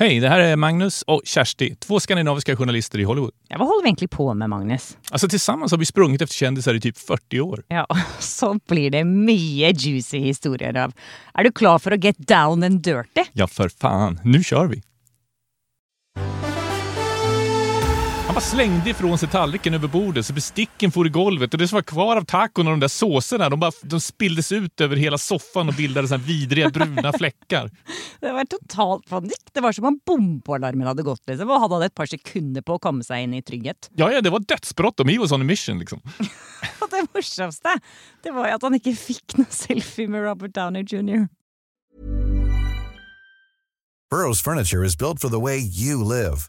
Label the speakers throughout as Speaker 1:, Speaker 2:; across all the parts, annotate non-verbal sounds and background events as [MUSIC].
Speaker 1: Hej, det här är Magnus och Kersti, två skandinaviska journalister i Hollywood.
Speaker 2: Ja, vad håller vi egentligen på med Magnus?
Speaker 1: Alltså tillsammans har vi sprungit efter kändisar i typ 40 år.
Speaker 2: Ja, [LAUGHS] så blir det mye juicy historier av. Er du klar for å get down and dirty?
Speaker 1: Ja, för fan. Nu kör vi! Han bara slängde ifrån sig tallriken över bordet så besticken for i golvet och det som var kvar av tacon och de där såserna de, bara, de spilldes ut över hela soffan och bildade såna här vidriga bruna [LAUGHS] fläckar.
Speaker 2: Det var totalt panikk. Det var som om bombealarmen hadde gått. liksom, og Han hadde et par sekunder på å komme seg inn i trygghet. [LAUGHS]
Speaker 1: Ja, ja, det var dödsbråttom. He was on a mission liksom.
Speaker 2: Og det morsomste det var jo at han ikke fikk noe selfie med Robert Downey jr.
Speaker 3: Burrow's furniture is built for the way you live.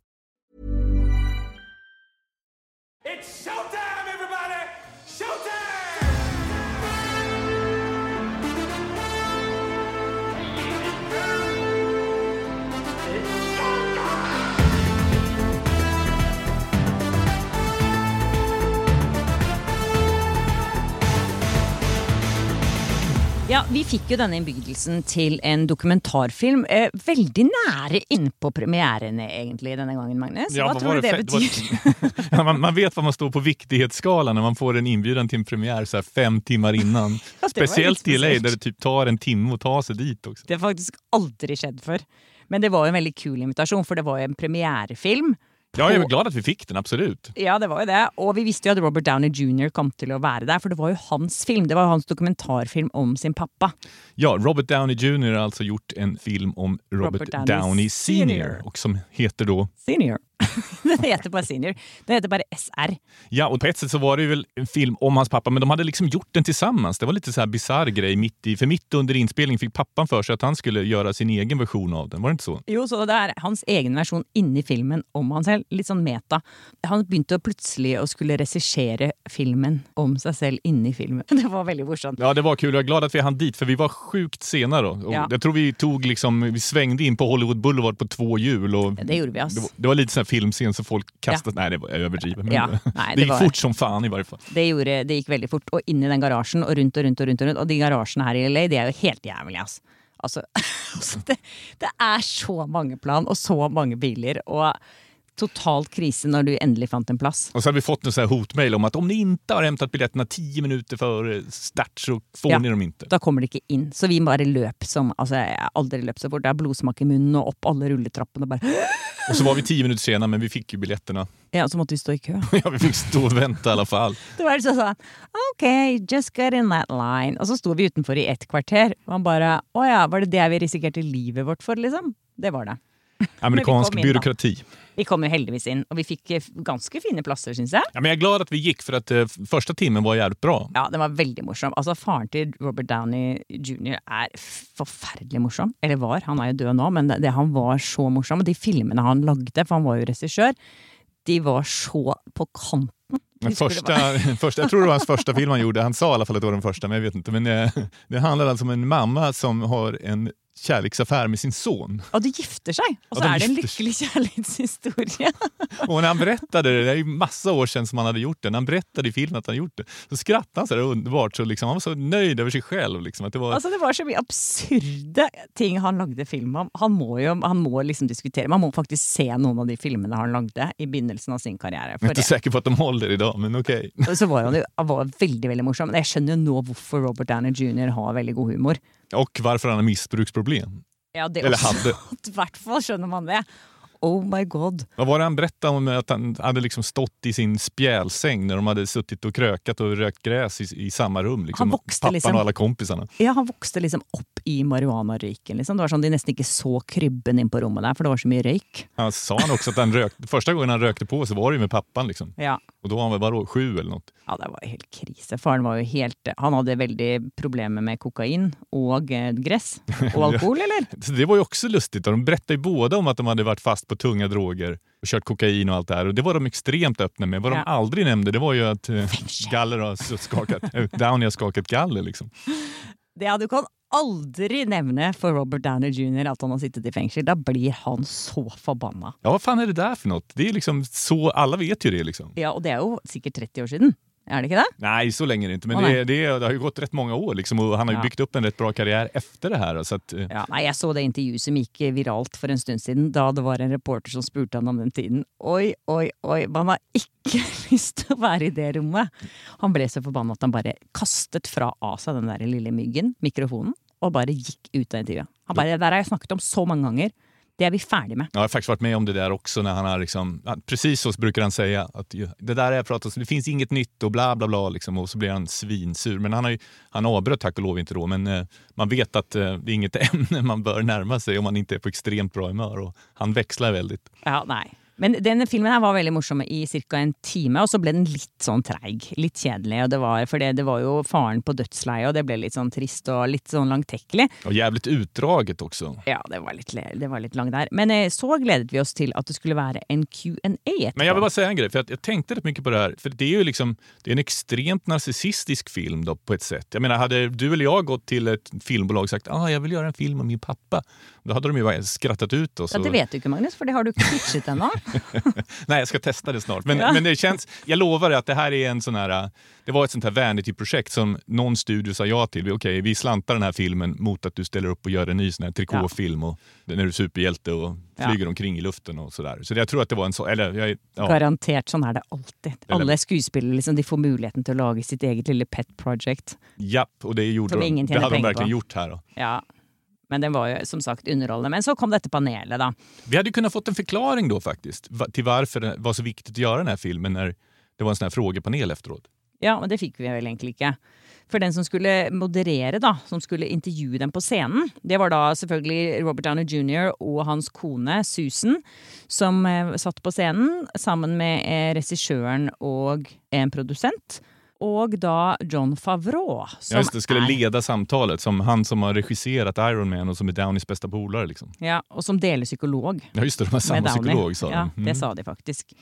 Speaker 4: It's showtime, everybody! Showtime!
Speaker 2: Ja, Vi fikk jo denne innbydelsen til en dokumentarfilm eh, veldig nære innpå premierene egentlig denne gangen, Magnus. Hva
Speaker 1: vad
Speaker 2: tror
Speaker 1: var
Speaker 2: du det
Speaker 1: fe-
Speaker 2: betyr?
Speaker 1: [LAUGHS] det var- man, man vet var man står på viktighetsskalan när man får en inbjudan till en premiär så här fem timmar
Speaker 2: [LAUGHS]
Speaker 1: innan.
Speaker 2: var
Speaker 1: Speciellt i LA
Speaker 2: lite
Speaker 1: där det typ tar en timme att ta sig dit också.
Speaker 2: Det har faktisk aldri skjedd før. Men det var jo en veldig kul invitasjon, for det var jo en premierefilm.
Speaker 1: Ja, jag är
Speaker 2: på-
Speaker 1: glad att vi fick den, absolut.
Speaker 2: Ja, det var jo det. Og vi visste jo at Robert Downey jr. kom til å være der, for det var jo hans film. Det var jo hans dokumentarfilm om sin pappa.
Speaker 1: Ja, Robert Downey Jr. har alltså gjort en film om Robert,
Speaker 2: Robert Downey
Speaker 1: Downey, Sr.
Speaker 2: Senior.
Speaker 1: och som heter då
Speaker 2: Senior. [LAUGHS] Den heter bare Senior. Den heter bare SR.
Speaker 1: Ja, och på ett sätt så var det ju väl en film om hans pappa, men de hade liksom gjort den tillsammans. Det var lite så här bisarr grej mitt i, för mitt under inspelningen fick pappan för sig att han skulle göra sin egen version av den. Var det inte så?
Speaker 2: Jo, så det er hans egen versjon inni filmen om han selv. Litt sånn meta. Han begynte å plutselig å skulle regissere filmen om seg selv inni filmen. [LAUGHS] Det var veldig morsomt.
Speaker 1: Ja, det var kul. Jag är glad att vi hann dit, för vi var sjukt sena då. Och
Speaker 2: Ja.
Speaker 1: Jag tror vi tog liksom, vi svängde in på Hollywood Boulevard på två hjul. Och
Speaker 2: Det gjorde vi, ass.
Speaker 1: det, var, det var lite sån här filmscen så folk kastade... Nej, det var, jag överdriver. Men
Speaker 2: Ja,
Speaker 1: det,
Speaker 2: nej, det
Speaker 1: det gick
Speaker 2: var-
Speaker 1: fort som fan i varje fall.
Speaker 2: Det, gjorde, det gikk veldig fort. Og inn i den garasjen, og rundt og rundt. Og rundt og rundt. Og de garasjene her i LA, de er jo helt jævlige, ass. Altså, [LAUGHS] altså det, det er så mange plan, og så mange biler, og totalt krise når du endelig fant en plass.
Speaker 1: Och så hade vi fått en sån här hotmail om att om ni inte har hämtat biljetterna tio minuter före start så får
Speaker 2: Ja.
Speaker 1: ni dem inte.
Speaker 2: Da kommer de ikke inn. Så vi bare løp som Altså, jeg har aldri løpt så fort. Det er blodsmak i munnen og opp alle rulletrappene og bare [GASPS]
Speaker 1: Och så var vi tio minuter sena, men vi fick ju biljetterna. [LAUGHS]
Speaker 2: Ja, så måtte vi stå i kø. [LAUGHS]
Speaker 1: Ja, vi fick stå och vänta i alla fall.
Speaker 2: Det var liksom sånn OK, just get in that line. Og så sto vi utenfor i ett kvarter, og han bare Å ja, var det det vi risikerte livet vårt for, liksom? Det var det.
Speaker 1: Amerikansk
Speaker 2: kom in då.
Speaker 1: byråkrati.
Speaker 2: Vi kom jo heldigvis inn, og vi fikk eh, ganske fine plasser, syns jeg.
Speaker 1: Ja, men jag är glad att vi gick, för att eh, första timmen var jävligt bra.
Speaker 2: Ja, den var veldig morsom. Altså, Faren til Robert Downey jr. er forferdelig morsom. Eller var, han er jo død nå, men det, det, han var så morsom. Og de filmene han lagde, for han var jo regissør, de var så på kanten.
Speaker 1: Den
Speaker 2: Husker du
Speaker 1: Första, [LAUGHS] första, jag tror det var hans första film han gjorde. Han sa i alla fall att det var den första, men jag vet inte. Men eh, det handlar alltså om en mamma som har en kärleksaffär med sin son.
Speaker 2: Og de gifter seg!
Speaker 1: eh, Ja,
Speaker 2: Og så
Speaker 1: de
Speaker 2: er det en
Speaker 1: gifter seg.
Speaker 2: lykkelig kjærlighetshistorie. [LAUGHS]
Speaker 1: Och när han berättade det, det är ju massa år sedan som han hade gjort det, när han berättade i filmen att han gjort det, så skrattade han så där underbart. Så liksom, han var så nöjd över sig själv. Liksom, att det var,
Speaker 2: Altså Det var så mye absurde ting han lagde film om. Han må jo han må liksom diskutere. Man må faktisk se noen av de filmene han lagde i begynnelsen av sin karriere.
Speaker 1: jag är
Speaker 2: For
Speaker 1: inte
Speaker 2: det,
Speaker 1: säker på att de håller idag, men okej.
Speaker 2: Og så var han jo han var veldig veldig morsom. Men Jeg skjønner jo nå hvorfor Robert Downey jr. har veldig god humor.
Speaker 1: Och varför han har missbruksproblem.
Speaker 2: Ja, det
Speaker 1: Eller
Speaker 2: også.
Speaker 1: hadde.
Speaker 2: I hvert fall skjønner man det. Oh my god.
Speaker 1: Vad var det han berättade om? Att han hade liksom stått i sin spjälsäng när de hade suttit och krökat och rökt gräs i, i samma rum. Liksom.
Speaker 2: Han växte
Speaker 1: Pappan
Speaker 2: liksom.
Speaker 1: och alla kompisarna.
Speaker 2: Ja, Han vokste liksom opp i marihuanaryken. Liksom. Det var sånn De nesten ikke så krybben inn på rommet der, for det var så mye røyk.
Speaker 1: Han sa han också att han rökte, första gången han rökte på så var det ju med pappan. Liksom.
Speaker 2: Ja.
Speaker 1: Och då var han väl bara sju eller något.
Speaker 2: Ja, det var jo helt krise. Faren var jo helt Han hadde veldig problemer med kokain
Speaker 1: [LAUGHS]
Speaker 2: og eh, gress. Og alkohol, eller?
Speaker 1: Så det var ju också lustigt. Och de berättade ju båda om att de hade varit fast på tunga droger och kört kokain och allt det här. Och det var de extremt öppna med. Vad
Speaker 2: Ja.
Speaker 1: de aldrig nämnde det var ju att eh, galler har så skakat,
Speaker 2: [LAUGHS]
Speaker 1: eh, Downey har skakat galler. Liksom.
Speaker 2: Det ja, Du kan aldri nevne for Robert Downey jr. at han har sittet i fengsel. Da blir han så forbanna.
Speaker 1: Ja, vad fan är det där för något? Det är liksom så, alla vet ju det liksom.
Speaker 2: Ja, Og det er jo sikkert 30 år siden. Er det ikke det?
Speaker 1: Nej, så länge är det inte. Men
Speaker 2: Åh,
Speaker 1: det,
Speaker 2: nej.
Speaker 1: det, det har ju gått rätt många år liksom, och han har ju
Speaker 2: Ja.
Speaker 1: byggt upp en rätt bra karriär efter det här. Så att, eh,
Speaker 2: Ja, nei, Jeg så det intervjuet som gikk viralt for en stund siden, da det var en reporter som spurte han om den tiden. Oi, oi, oi, man har ikke [LAUGHS] lyst til å være i det rommet! Han ble så forbanna at han bare kastet fra av seg den der lille myggen, mikrofonen, og bare gikk ut av intervjuet. Han bare, Det der har jeg snakket om så mange ganger. Det er vi ferdig med.
Speaker 1: Ja, jag har faktiskt varit med om det där också när han har liksom, ja, precis så brukar han säga att ju, det där har jag pratat om, det finns inget nytt och bla bla bla liksom, och så blir han svinsur. Men han, har ju, han avbröt tack och lov inte då, men eh, man vet att eh, det är inget [LAUGHS] ämne man bör närma sig om man inte är på extremt bra humör och han växlar väldigt.
Speaker 2: Ja, nei. Men denne filmen her var veldig morsom i ca. en time, og så ble den litt sånn treig. Litt kjedelig. Og det var, for det, det var jo faren på dødsleiet, og det ble litt sånn trist og litt sånn langtekkelig.
Speaker 1: Och jävligt utdraget också.
Speaker 2: Ja, det var litt, le- det var litt lang der. Men eh, så gledet vi oss til at det skulle være en Q&A etterpå.
Speaker 1: Men jag vill bara säga en grej, för att jag tänkte rätt mycket på det här. För det är ju liksom, det är en extremt narcissistisk film då, på ett sätt. Jag menar, hade du eller jeg gått till ett filmbolag och sagt ah, jag vill göra en film om min pappa, då hade de ju bara skrattat ut oss.
Speaker 2: ja, det
Speaker 1: och-
Speaker 2: vet du ikke, Magnus, for det har du ikke pitchet ennå.
Speaker 1: [LAUGHS] Nej, jag ska testa det snart. Men, men det känns, jag lovar att det här är en sån här... Det var ett sånt här vanity-projekt som någon studio sa ja till. Okej, vi slantar den här filmen mot att du ställer upp och gör en ny sån här trikåfilm och när du är superhjälte och
Speaker 2: Ja.
Speaker 1: flyger omkring i luften och sådär. Så jag tror att det var en sån... Eller, jeg- ja.
Speaker 2: Garantert, sånn er det alltid.
Speaker 1: Eller-
Speaker 2: Alle skuespillere liksom, de får muligheten til å lage sitt eget lille pet project.
Speaker 1: Japp, och det gjorde
Speaker 2: Som
Speaker 1: de.
Speaker 2: ingen
Speaker 1: Det
Speaker 2: tjener
Speaker 1: hade de
Speaker 2: penger
Speaker 1: verkligen
Speaker 2: på.
Speaker 1: gjort här. Då.
Speaker 2: Ja, men den var jo som sagt underholdende. Men så kom dette panelet, da.
Speaker 1: Vi hade ju kunnat fått en förklaring då faktiskt va- till varför det var så viktigt att göra den här filmen när det var en sån här frågepanel efteråt.
Speaker 2: Ja, men det fikk vi vel egentlig ikke. For den som skulle moderere, da, som skulle intervjue dem på scenen, det var da selvfølgelig Robert Downey jr. og hans kone Susan, som eh, satt på scenen sammen med eh, regissøren og en produsent. Og da John Favreau, som
Speaker 1: Just det, skulle
Speaker 2: er
Speaker 1: leda samtalet som han som har regisserat Iron Man og som är Downeys bästa polare. Liksom.
Speaker 2: ja, og som deler psykolog.
Speaker 1: Ja, just det. De har samma
Speaker 2: med Downey.
Speaker 1: psykolog, sa
Speaker 2: ja,
Speaker 1: de. Mm.
Speaker 2: det sa de faktisk.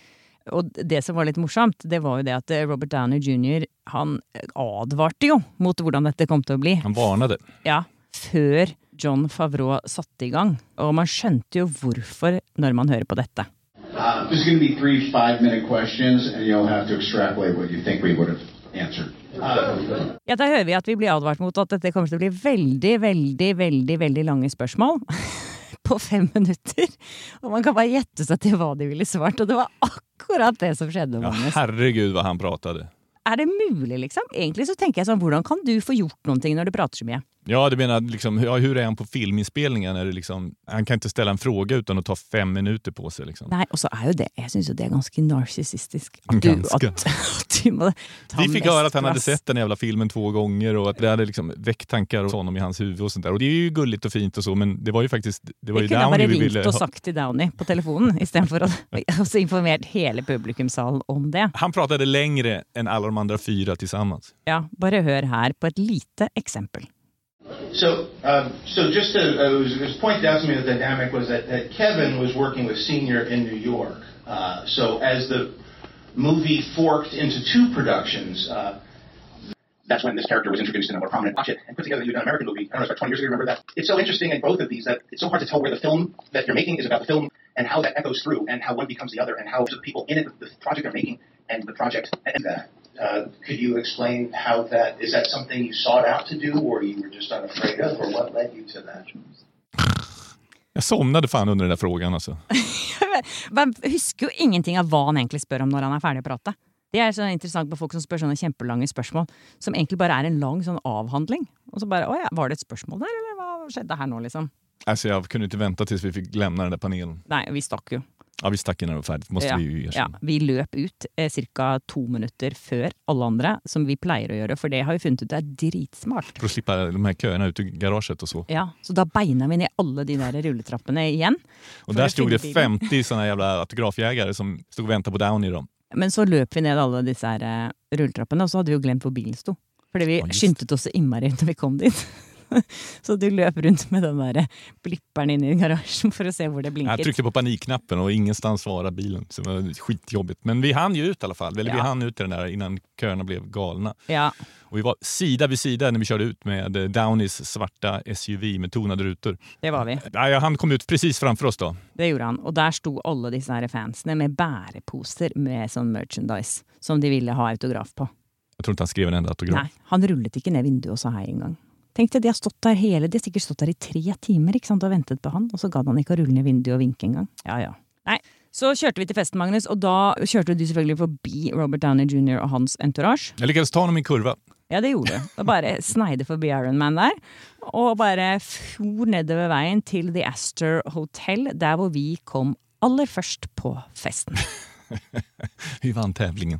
Speaker 2: Og det som var litt morsomt, det var jo det at eh, Robert Downey jr. han eh, advarte jo mot hvordan dette kom til å bli.
Speaker 1: Han varnade.
Speaker 2: Ja, før John Favreau satte i gang. Og man skjønte jo hvorfor når man hører på dette.
Speaker 5: Uh, There's going to be three five-minute questions, and you'll have to extrapolate what you think we would have answered. Uh,
Speaker 2: Ja, Da hører vi at vi blir advart mot at dette kommer til å bli veldig, veldig, veldig veldig lange spørsmål. [LAUGHS] På fem minutter. Og man kan bare gjette seg til hva de ville svart. Og det var akkurat det som skjedde.
Speaker 1: Ja,
Speaker 2: Magnus.
Speaker 1: Ah, herregud vad han pratade.
Speaker 2: Er det mulig, liksom? Egentlig så tenker jeg sånn, hvordan kan du få gjort noen ting når du prater så mye?
Speaker 1: Ja, du menar liksom, ja, hur är han på filminspelningen? Är det liksom, han kan inte ställa en fråga utan att ta fem minuter på sig. Liksom.
Speaker 2: Nei, og så er jo det Jeg syns jo det er ganske narsissistisk. At, du- at, [LAUGHS]
Speaker 1: Ganske.
Speaker 2: at du må ta
Speaker 1: Vi fick höra att han hade
Speaker 2: mest plass.
Speaker 1: sett den jävla filmen två gånger och att det hade liksom väckt tankar hos honom i hans huvud og sånt där. Och det är ju gulligt och fint och så, men det var ju faktiskt... Det var
Speaker 2: Vi
Speaker 1: ju
Speaker 2: kunne bare
Speaker 1: Downey vi
Speaker 2: ringt
Speaker 1: ville
Speaker 2: og
Speaker 1: ha.
Speaker 2: sagt til Downey på telefonen, istedenfor
Speaker 1: [LAUGHS]
Speaker 2: å og så informert hele publikumssalen om det.
Speaker 1: Han pratade längre än alla de andra fyra tillsammans.
Speaker 2: Ja, Bare hør her på et lite eksempel. [LAUGHS]
Speaker 6: So, um, so just to, uh, it, was, it was pointed out to me that the dynamic was that, that Kevin was working with Senior in New York. Uh, so as the movie forked into two productions, uh, that's when this character was introduced in a more prominent watch it and put together the an American movie. I don't know, it's about 20 years ago, you remember that? It's so interesting in both of these that it's so hard to tell where the film that you're making is about the film and how that echoes through and how one becomes the other and how the people in it, the project they're making and the project and that. Uh, could you explain how that, is that something you sought out to do or you were just unafraid of or what led you to that?
Speaker 1: Jag somnade fan under den där frågan alltså.
Speaker 2: Man husker jo ingenting av hva han egentlig spør om når han er ferdig å prate. Det er så interessant med folk som spør sånne kjempelange spørsmål, som egentlig bare er en lang sånn avhandling. Og så bare Å ja, var det et spørsmål der, eller hva skjedde her nå, liksom?
Speaker 1: Alltså jag kunde inte vänta tills vi fick lämna den där panelen.
Speaker 2: Nei, vi stakk jo.
Speaker 1: Ja, vi stack innan det var färdigt, måste
Speaker 2: Ja,
Speaker 1: vi ju
Speaker 2: ja,
Speaker 1: erkänna.
Speaker 2: vi løp ut eh, ca. to minutter før alle andre, som vi pleier å gjøre, for det har vi funnet ut er dritsmart.
Speaker 1: För att slippa de här köerna ute i garaget och så.
Speaker 2: Ja, Så da beina vi ned alle de der rulletrappene igjen.
Speaker 1: Och
Speaker 2: For
Speaker 1: där
Speaker 2: å
Speaker 1: stod
Speaker 2: finne
Speaker 1: det
Speaker 2: bilen.
Speaker 1: 50 såna jävla autografjägare som stod och väntade på Downey. Då.
Speaker 2: Men så løp vi ned alle disse her eh, rulletrappene, og så hadde vi jo glemt hvor bilen sto. Fordi vi
Speaker 1: Ja, just.
Speaker 2: skyndte oss så innmari da vi kom dit. [LAUGHS] Så du løp rundt med den der eh, blipperen inn i garasjen for å se hvor det
Speaker 1: Jag
Speaker 2: blinket.
Speaker 1: tryckte på panikknappen och ingenstans svarade bilen. Så det var skitjobbigt. Men vi hann ju ut i alla fall. Eller vi
Speaker 2: Ja.
Speaker 1: hann ut i den där innan köerna blev galna.
Speaker 2: Ja.
Speaker 1: Och vi var sida vid sida när vi körde ut med eh, Downeys svarta SUV med tonade rutor.
Speaker 2: Det var vi.
Speaker 1: Nej, han kom ut precis framför oss då.
Speaker 2: Det gjorde han. Og der sto alle disse her fansene med bæreposer med sånn merchandise som de ville ha autograf på.
Speaker 1: Jag tror inte han skrev en enda autograf.
Speaker 2: Nei, han rullet ikke ned vinduet og sa hei engang. Tenk deg, de har stått der hele, de har sikkert stått der i tre timer ikke sant, og ventet på han, og så gadd han ikke å rulle ned vinduet og vinke engang. Ja, ja. Nei. Så kjørte vi til festen, Magnus, og da kjørte du selvfølgelig forbi Robert Downey jr. og hans entourage.
Speaker 1: Jag lyckades ta honom i en kurva.
Speaker 2: Ja, det gjorde du. Da bare [LAUGHS] sneide forbi Iron Man der, og bare for nedover veien til The Astor Hotel, der hvor vi kom aller først på festen.
Speaker 1: Vi vann tävlingen.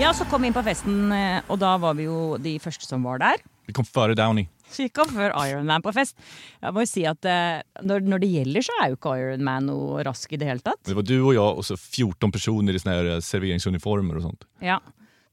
Speaker 2: Ja, så kom vi inn på festen, eh, og da var vi jo de første som var der.
Speaker 1: Vi kom före Downey.
Speaker 2: Så gikk han før Iron Man på fest. Jeg må jo si at eh, når, når det gjelder, så er jo ikke Iron Man noe rask i det hele tatt.
Speaker 1: Det var du och jag och så 14 personer i såna här eh, serveringsuniformer och sånt.
Speaker 2: Ja.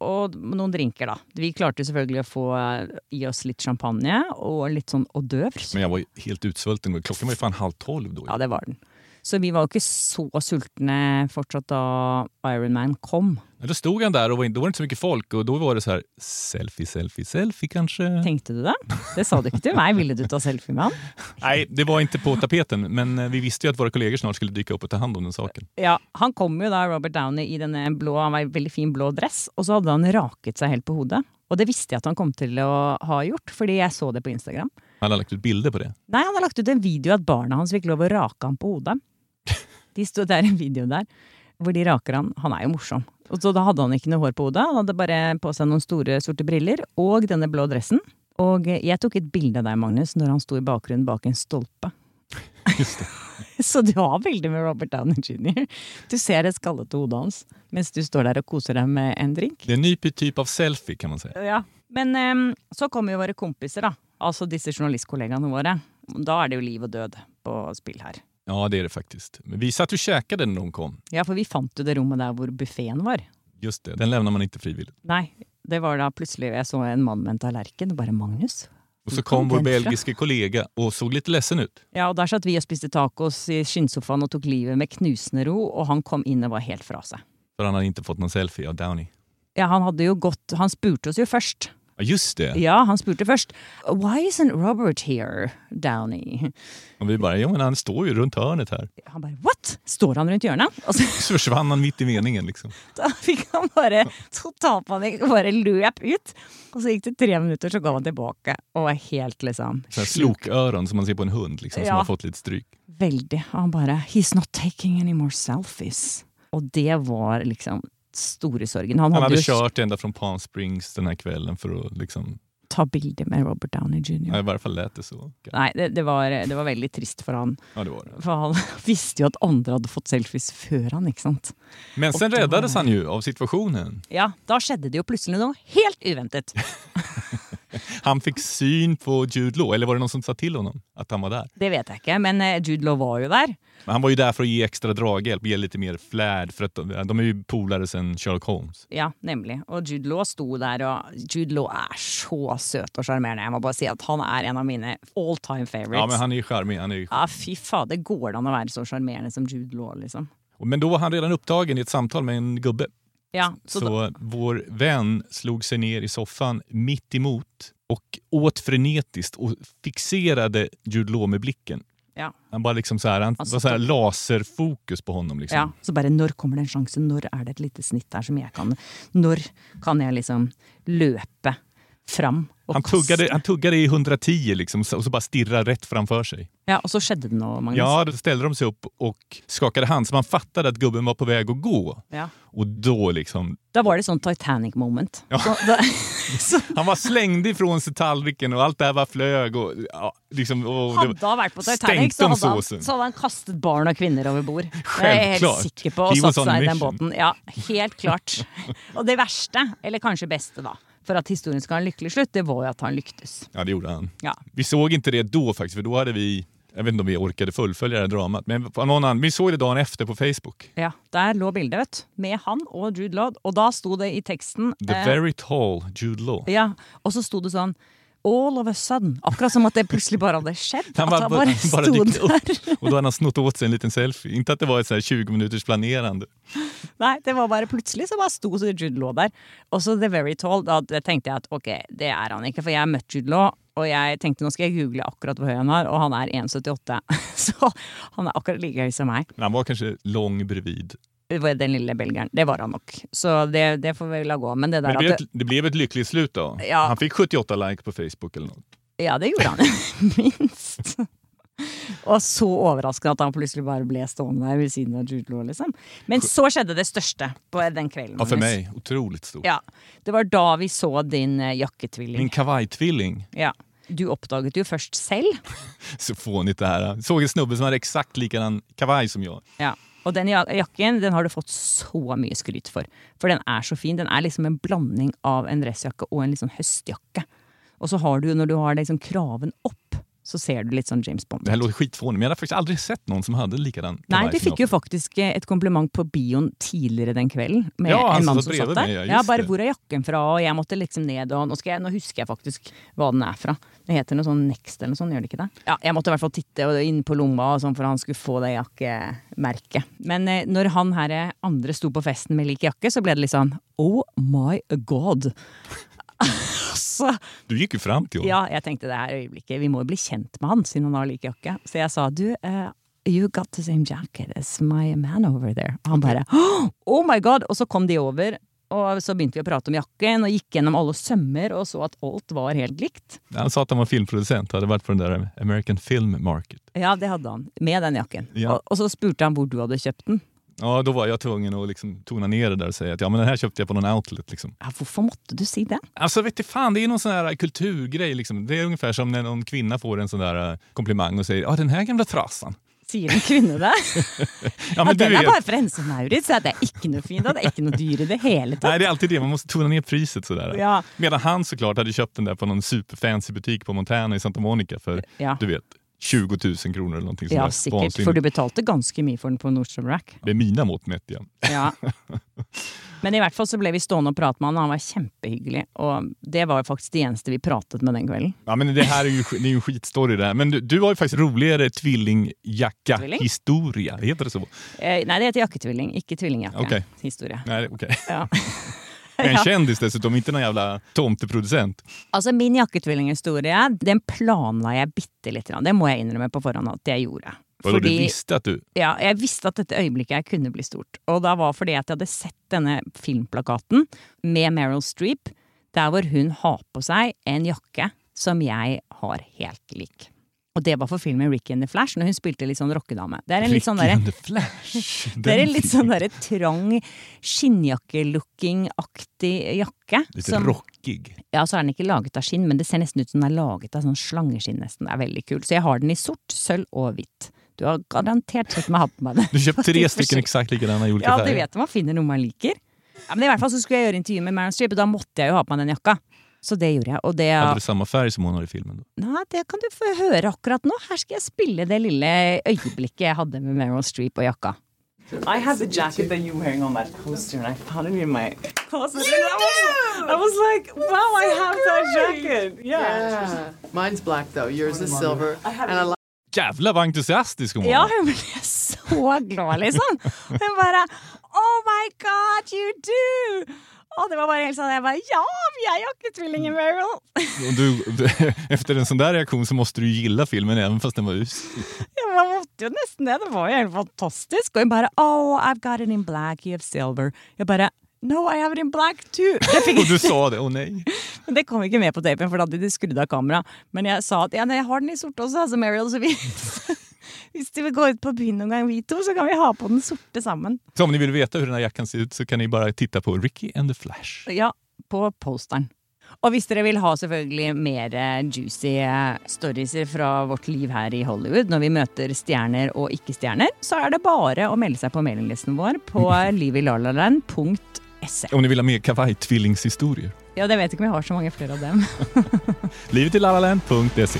Speaker 2: Og noen drinker, da. Vi klarte jo selvfølgelig å få eh, i oss litt champagne og litt sånn hors d'oeuvres.
Speaker 1: Men jag var ju helt utsvulten. Klockan var ju fan halv tolv då.
Speaker 2: Ja, det var den. Så vi var jo ikke så sultne fortsatt da Iron Man kom.
Speaker 1: Men Då stod han där och var in, då var det inte så mycket folk och då var det så här selfie, selfie, selfie kanske.
Speaker 2: Tenkte du det? Det sa du ikke til meg. Ville du ta selfie med han?
Speaker 1: Nej, det var inte på tapeten, men eh, vi visste ju att våra kollegor snart skulle dyka upp och ta hand om den saken.
Speaker 2: Ja, Han kom jo da, Robert Downey, i denne blå, han var i veldig fin blå dress. Og så hadde han raket seg helt på hodet. Og det visste jeg at han kom til å ha gjort, fordi jeg så det på Instagram.
Speaker 1: Han har lagt ut bilder på det.
Speaker 2: Nei, han har lagt ut en video at barna hans fikk lov å rake ham på hodet. De stod, det er en video der hvor de raker han. Han er jo morsom. Og så da hadde han ikke noe hår på hodet. Han hadde bare på seg noen store sorte briller og denne blå dressen. Og jeg tok et bilde av deg, Magnus, når han sto i bakgrunnen bak en stolpe. [LAUGHS] Så du har bilde med Robert Downey jr. Du ser det skallete hodet hans mens du står der og koser deg med en drink.
Speaker 1: Det är en ny typ av selfie kan man säga.
Speaker 2: Ja. Men ehm, så kommer jo våre kompiser, da. Altså disse journalistkollegaene våre. Da er det jo liv og død på spill her.
Speaker 1: Ja, det är det faktiskt. Men vi satt ju och käkade når de kom.
Speaker 2: Ja, for vi fant jo det rommet der hvor buffeen var.
Speaker 1: Just det, den lämnar man inte frivilligt.
Speaker 2: Nei, det var da plutselig jeg så en mann med en tallerken. Bare Magnus.
Speaker 1: Och så
Speaker 2: kom
Speaker 1: kom vår
Speaker 2: den fra?
Speaker 1: belgiske kollega och såg lite ledsen ut.
Speaker 2: Ja, og der satt vi og spiste tacos i skinnsofaen og tok livet med knusende ro, og han kom inn og var helt fra seg.
Speaker 1: För han hade inte fått någon selfie av Downey.
Speaker 2: Ja, han hadde jo gått Han spurte oss jo først.
Speaker 1: Ja, just det.
Speaker 2: Ja, han spurte først. Why isn't Robert here, Downey?
Speaker 1: Och vi bara, jo men han står ju runt hörnet här.
Speaker 2: Han bare what? Står han rundt hjørnet? Og så
Speaker 1: Så försvann han mitt i meningen liksom.
Speaker 2: [LAUGHS] Da fikk han bare totalpanikk og bare løp ut. Og så gikk det tre minutter, så ga han tilbake og var helt liksom
Speaker 1: Så här sloköron som man ser på en hund liksom,
Speaker 2: Ja.
Speaker 1: som har fått lite stryk.
Speaker 2: Veldig. Og han bare He's not taking any more selfies. Og det var liksom store sorgen. Han
Speaker 1: Han hade
Speaker 2: hadde jo
Speaker 1: kört ända från Palm Springs den här kvällen för att liksom,
Speaker 2: ta bilder med Robert Downey
Speaker 1: ja, i
Speaker 2: jr.
Speaker 1: varje fall lät det så.
Speaker 2: Nei, det, det, var, det var veldig trist for han.
Speaker 1: Ja, det var det.
Speaker 2: For han [LAUGHS] visste jo at andre hadde fått selfies før han, ikke sant.
Speaker 1: Men sen
Speaker 2: Och då-
Speaker 1: räddades han ju av situationen.
Speaker 2: Ja, da skjedde det jo plutselig noe helt uventet.
Speaker 1: Han fick syn på Jude Law, eller var det någon som sa till honom att han var där?
Speaker 2: Det vet jeg ikke, men eh, Jude Law var jo der.
Speaker 1: Men han var ju där för att ge extra draghjälp, ge lite mer flärd, för att de, de är ju polare sedan Sherlock Holmes.
Speaker 2: Ja, nemlig. Og Jude Law sto der, og Jude Law er så søt og sjarmerende. Jeg må bare si at han er en av mine all
Speaker 1: Ja,
Speaker 2: time
Speaker 1: men
Speaker 2: favorites. Ja,
Speaker 1: han är ju charmig. Han är ju...
Speaker 2: fy fader, går det an å være så sjarmerende som Jude Law, liksom?
Speaker 1: Men då var han redan upptagen i ett samtal med en gubbe.
Speaker 2: Ja,
Speaker 1: Så,
Speaker 2: så, da,
Speaker 1: vår vän slog sig ner i soffan mitt emot och åt frenetiskt och fixerade Jude Law med blicken.
Speaker 2: ja,
Speaker 1: Han bara liksom så här, han
Speaker 2: Alltså,
Speaker 1: var så här laserfokus på honom. Liksom.
Speaker 2: ja. så bare når kommer det en sjanse? Når er det et lite snitt der som jeg kan Når kan jeg liksom løpe fram og
Speaker 1: Han
Speaker 2: kaste?
Speaker 1: tuggade, han tuggade i 110 liksom, så- och så bara stirrade rätt framför sig.
Speaker 2: Ja, og så skjedde det noe, Magnus.
Speaker 1: Ja, då ställde de sig upp och skakade hand så man fattade att gubben var på väg att gå.
Speaker 2: Ja.
Speaker 1: Och då liksom...
Speaker 2: Da var det sånn Titanic moment. Så, da, [LAUGHS] så
Speaker 1: Han var slängd ifrån sig tallriken och allt det här var flög. Och, ja, liksom, och det-
Speaker 2: Hadde han vært på Titanic, så
Speaker 1: stänkte om
Speaker 2: hadde, han,
Speaker 1: såsen.
Speaker 2: så hadde han kastet barn og kvinner over bord. Det er jeg helt
Speaker 1: Självklart.
Speaker 2: sikker på.
Speaker 1: He
Speaker 2: Og
Speaker 1: was
Speaker 2: satt
Speaker 1: on a
Speaker 2: seg i den
Speaker 1: mission.
Speaker 2: båten. Ja, helt klart.
Speaker 1: [LAUGHS]
Speaker 2: Og det verste, eller kanskje beste, da, for at historien skal ha en lykkelig slutt, det var jo at han lyktes.
Speaker 1: Ja, det gjorde han.
Speaker 2: Ja.
Speaker 1: Vi såg inte det då faktiskt, för då hade vi... Jag vet inte om vi orkade fullfölja det här dramat, men på någon annan, vi såg det dagen efter på Facebook.
Speaker 2: Ja, Der lå bildet, vet du. Med han og Jude Law. Og da sto det i teksten eh,
Speaker 1: The very tall Jude Law.
Speaker 2: Ja, Og så sto det sånn All of a sudden. Akkurat som at det plutselig bare hadde skjedd.
Speaker 1: Han [LAUGHS]
Speaker 2: at
Speaker 1: bara,
Speaker 2: han bare
Speaker 1: bara
Speaker 2: sto
Speaker 1: dykte
Speaker 2: der.
Speaker 1: upp och då hade han snott åt sig en liten selfie. Inte att det var ett så här 20 minuters planerande.
Speaker 2: Nei, det var bare plutselig så bare sto så Jude Law der. Og så The Very Tall, da tenkte jeg at ok, det er han ikke, for jeg har møtt Jude Law. Og jeg tenkte nå skal jeg google akkurat hvor høy han er, og han er 1,78. [LAUGHS] Så han er akkurat like høy som meg.
Speaker 1: Men han var kanske lång bredvid.
Speaker 2: Det var Den lille belgeren. Det var han nok. Så det, det får vi la gå. Men det der
Speaker 1: Men det, blev
Speaker 2: at
Speaker 1: ett, det blev ett lyckligt slut då.
Speaker 2: Ja.
Speaker 1: Han fick 78 likes på Facebook eller något.
Speaker 2: Ja, det gjorde han. [LAUGHS] Minst. Og så overraskende at han plutselig bare ble stående der ved siden av Jude Law, liksom. Men så skjedde det største på den kvelden.
Speaker 1: Ja, för
Speaker 2: Magnus.
Speaker 1: mig, otroligt stort.
Speaker 2: Ja. Det var da vi så din eh, jakketvilling.
Speaker 1: Min kavajtvilling.
Speaker 2: Ja. Du oppdaget jo først selv.
Speaker 1: Så fånigt det här. Jag Såg en snubbe som hade exakt likadan kavaj som jag.
Speaker 2: Ja. Og den ja- jakken den har du fått så mye skryt for. For den er så fin. Den er liksom en blanding av en dressjakke og en liksom høstjakke. Og så har du, når du har liksom kraven opp, så ser du litt sånn James Bond.
Speaker 1: Det här låter skitfånigt, men jag hade faktiskt aldrig sett någon som hade likadan kavaj
Speaker 2: Nei, du
Speaker 1: som jag.
Speaker 2: fikk jo faktisk eh, et kompliment på bioen tidligere den kvelden. Med
Speaker 1: Ja, han
Speaker 2: en
Speaker 1: som
Speaker 2: mann
Speaker 1: satt
Speaker 2: som
Speaker 1: bredvid
Speaker 2: satt der.
Speaker 1: meg, ja,
Speaker 2: ja,
Speaker 1: just
Speaker 2: bare
Speaker 1: det.
Speaker 2: hvor er jakken fra, og jeg måtte liksom ned, og nå, skal jeg, nå husker jeg faktisk hva den er fra. Det heter noe sånn Next eller noe sånt, gjør det ikke det? Ja, jeg måtte i hvert fall titte og inn på lomma og sånn for han skulle få det jakkemerket. Men eh, når han her eh, andre sto på festen med lik jakke, så ble det litt sånn oh my god. [LAUGHS] så
Speaker 1: Du gick ju fram till honom.
Speaker 2: ja, jeg tenkte det her øyeblikket. Vi må jo bli kjent med han, siden han har lik jakke. Så jeg sa du, eh, you got the same jacket as my man over there. Og han bare oh my god! Og så kom de over. Og så begynte vi å prate om jakken, og gikk gjennom alle sømmer og så at alt var helt likt.
Speaker 1: Han sa att han var filmproducent, hade varit på den där American Film Market.
Speaker 2: Ja, det hadde han. Med den jakken.
Speaker 1: Ja.
Speaker 2: Og, og så spurte han hvor du hadde kjøpt den.
Speaker 1: Ja, då var jag tvungen att liksom tona ner det där og säga att ja, men den här köpte jag på någon outlet. Liksom.
Speaker 2: Ja, hvorfor måtte du si det?
Speaker 1: Alltså vet du fan, det är någon sån här kulturgrej. Liksom. Det är ungefär som när någon kvinna får en sån där eh, komplimang og säger ja, den här gamla trasan.
Speaker 2: Sier en kvinne det?
Speaker 1: [LAUGHS] Ja,
Speaker 2: Ja,
Speaker 1: men
Speaker 2: den
Speaker 1: du
Speaker 2: er
Speaker 1: vet.
Speaker 2: bare fra Hennes og Maurits, så det er ikke noe fint, og det er ikke noe dyr i det hele tatt.
Speaker 1: Nej, det är alltid det. Man måste tona ner priset sådär.
Speaker 2: Ja.
Speaker 1: Medan han såklart hade köpt den där på någon superfancy butik på Montana i Santa Monica för,
Speaker 2: Ja.
Speaker 1: du vet, 20 000 kronor eller någonting
Speaker 2: Ja,
Speaker 1: sådär.
Speaker 2: sikkert,
Speaker 1: Vansinnigt.
Speaker 2: for du betalte ganske mye for den på Nordstrom Rack.
Speaker 1: Med mina mått mätt, ja.
Speaker 2: Ja. Men i hvert fall så ble vi stående og prate med han, og han var kjempehyggelig. Og det var faktisk det eneste vi pratet med den kvelden.
Speaker 1: Ja, men det här är ju det är ju en skitstory det här. Men du, du har ju faktiskt roligare tvillingjacka-historia. Heter det så?
Speaker 2: Eh, nei, det heter jakketvilling, ikke tvillingjakke.
Speaker 1: Ok.
Speaker 2: Historie.
Speaker 1: Nej, okej.
Speaker 2: [LAUGHS] Ja.
Speaker 1: En
Speaker 2: Ja.
Speaker 1: kändis dessutom, inte någon jävla tomteproducent.
Speaker 2: Altså, min jakketvillinghistorie, den planla jeg bitte litt. Det må jeg innrømme på forhånd at jeg gjorde.
Speaker 1: Vadå, du visste att du...
Speaker 2: ja, jeg visste at dette øyeblikket her kunne bli stort. Og da var fordi at jeg hadde sett denne filmplakaten med Meryl Streep, der hvor hun har på seg en jakke som jeg har helt lik. Og det var for filmen Ricky and the Flash, når hun spilte litt sånn rockedame. Det er en litt sånn derre
Speaker 1: Ricky and the Flash.
Speaker 2: [LAUGHS] det er
Speaker 1: Den
Speaker 2: en litt
Speaker 1: fick-
Speaker 2: sånn derre trang skinnjakkelooking-aktig jakke.
Speaker 1: Lite
Speaker 2: som-
Speaker 1: rockig.
Speaker 2: ja, så er den ikke laget av skinn, men det ser nesten ut som den er laget av sånn slangeskinn nesten. Det er veldig kult. Så jeg har den i sort, sølv og hvitt. Du har garantert sett meg ha på meg den.
Speaker 1: Du köpte
Speaker 2: [LAUGHS]
Speaker 1: tre
Speaker 2: Faktisk
Speaker 1: stycken
Speaker 2: forsøkt.
Speaker 1: exakt likadana i olika
Speaker 2: Ja, du
Speaker 1: färger.
Speaker 2: vet om man finner noe man liker. Ja, men i hvert fall så skulle jeg gjøre intervju med Meryl Streep, og da måtte jeg jo ha på meg den jakka. Så det gjorde jeg. Og det,
Speaker 1: Hade du samma färg som hon har i filmen? Då?
Speaker 2: Nei, det kan du få høre akkurat nå. Her skal jeg spille det lille øyeblikket jeg hadde med Meryl Streep og jakka.
Speaker 7: I had the jacket that you were wearing on that poster, and I found it in my closet. You and I, was, I was like, wow, I have that jacket. Yeah.
Speaker 8: Mine's black though. Yours is silver. and I like
Speaker 1: Jävlar vad entusiastisk hon var!
Speaker 2: Ja, jeg ble så glad, liksom. Hun bare Oh my God, you do! Og det var bare helt sånn Jeg bare Ja, vi er jakketvillinger, Meryl!
Speaker 1: Och du, [LAUGHS] efter en sån där reaktion så måste du ju gilla filmen även fast den var usel.
Speaker 2: Ja, Man måtte jo nesten det. Det var jo helt fantastisk. Og hun bare Oh, I've got it in black, you have silver. Jeg bare No, I have it in black too. Jeg fikk
Speaker 1: Och du sa det, åh nej.
Speaker 2: Men det kom ikke med på tapen, for da hadde de skrudd av kameraet. Men jeg sa at ja, nei, jeg har den i sorte også, altså Mariel, så vi [LAUGHS] Hvis de vil gå ut på byen noen gang, vi to, så kan vi ha på den sorte sammen.
Speaker 1: Så om ni vill veta hur den här jackan ser ut så kan ni bara titta på Ricky and the Flash.
Speaker 2: Ja, på posteren. Og hvis dere vil ha selvfølgelig mer eh, juicy eh, stories fra vårt liv her i Hollywood, når vi møter stjerner og ikke-stjerner, så er det bare å melde seg på mailinglisten vår på livilalalaland.se.
Speaker 1: Om ni vill ha mer kavajtvillingshistorier.
Speaker 2: E. Ja, det vet ikke om vi har så mange flere av dem.
Speaker 1: Livet i lalaland.se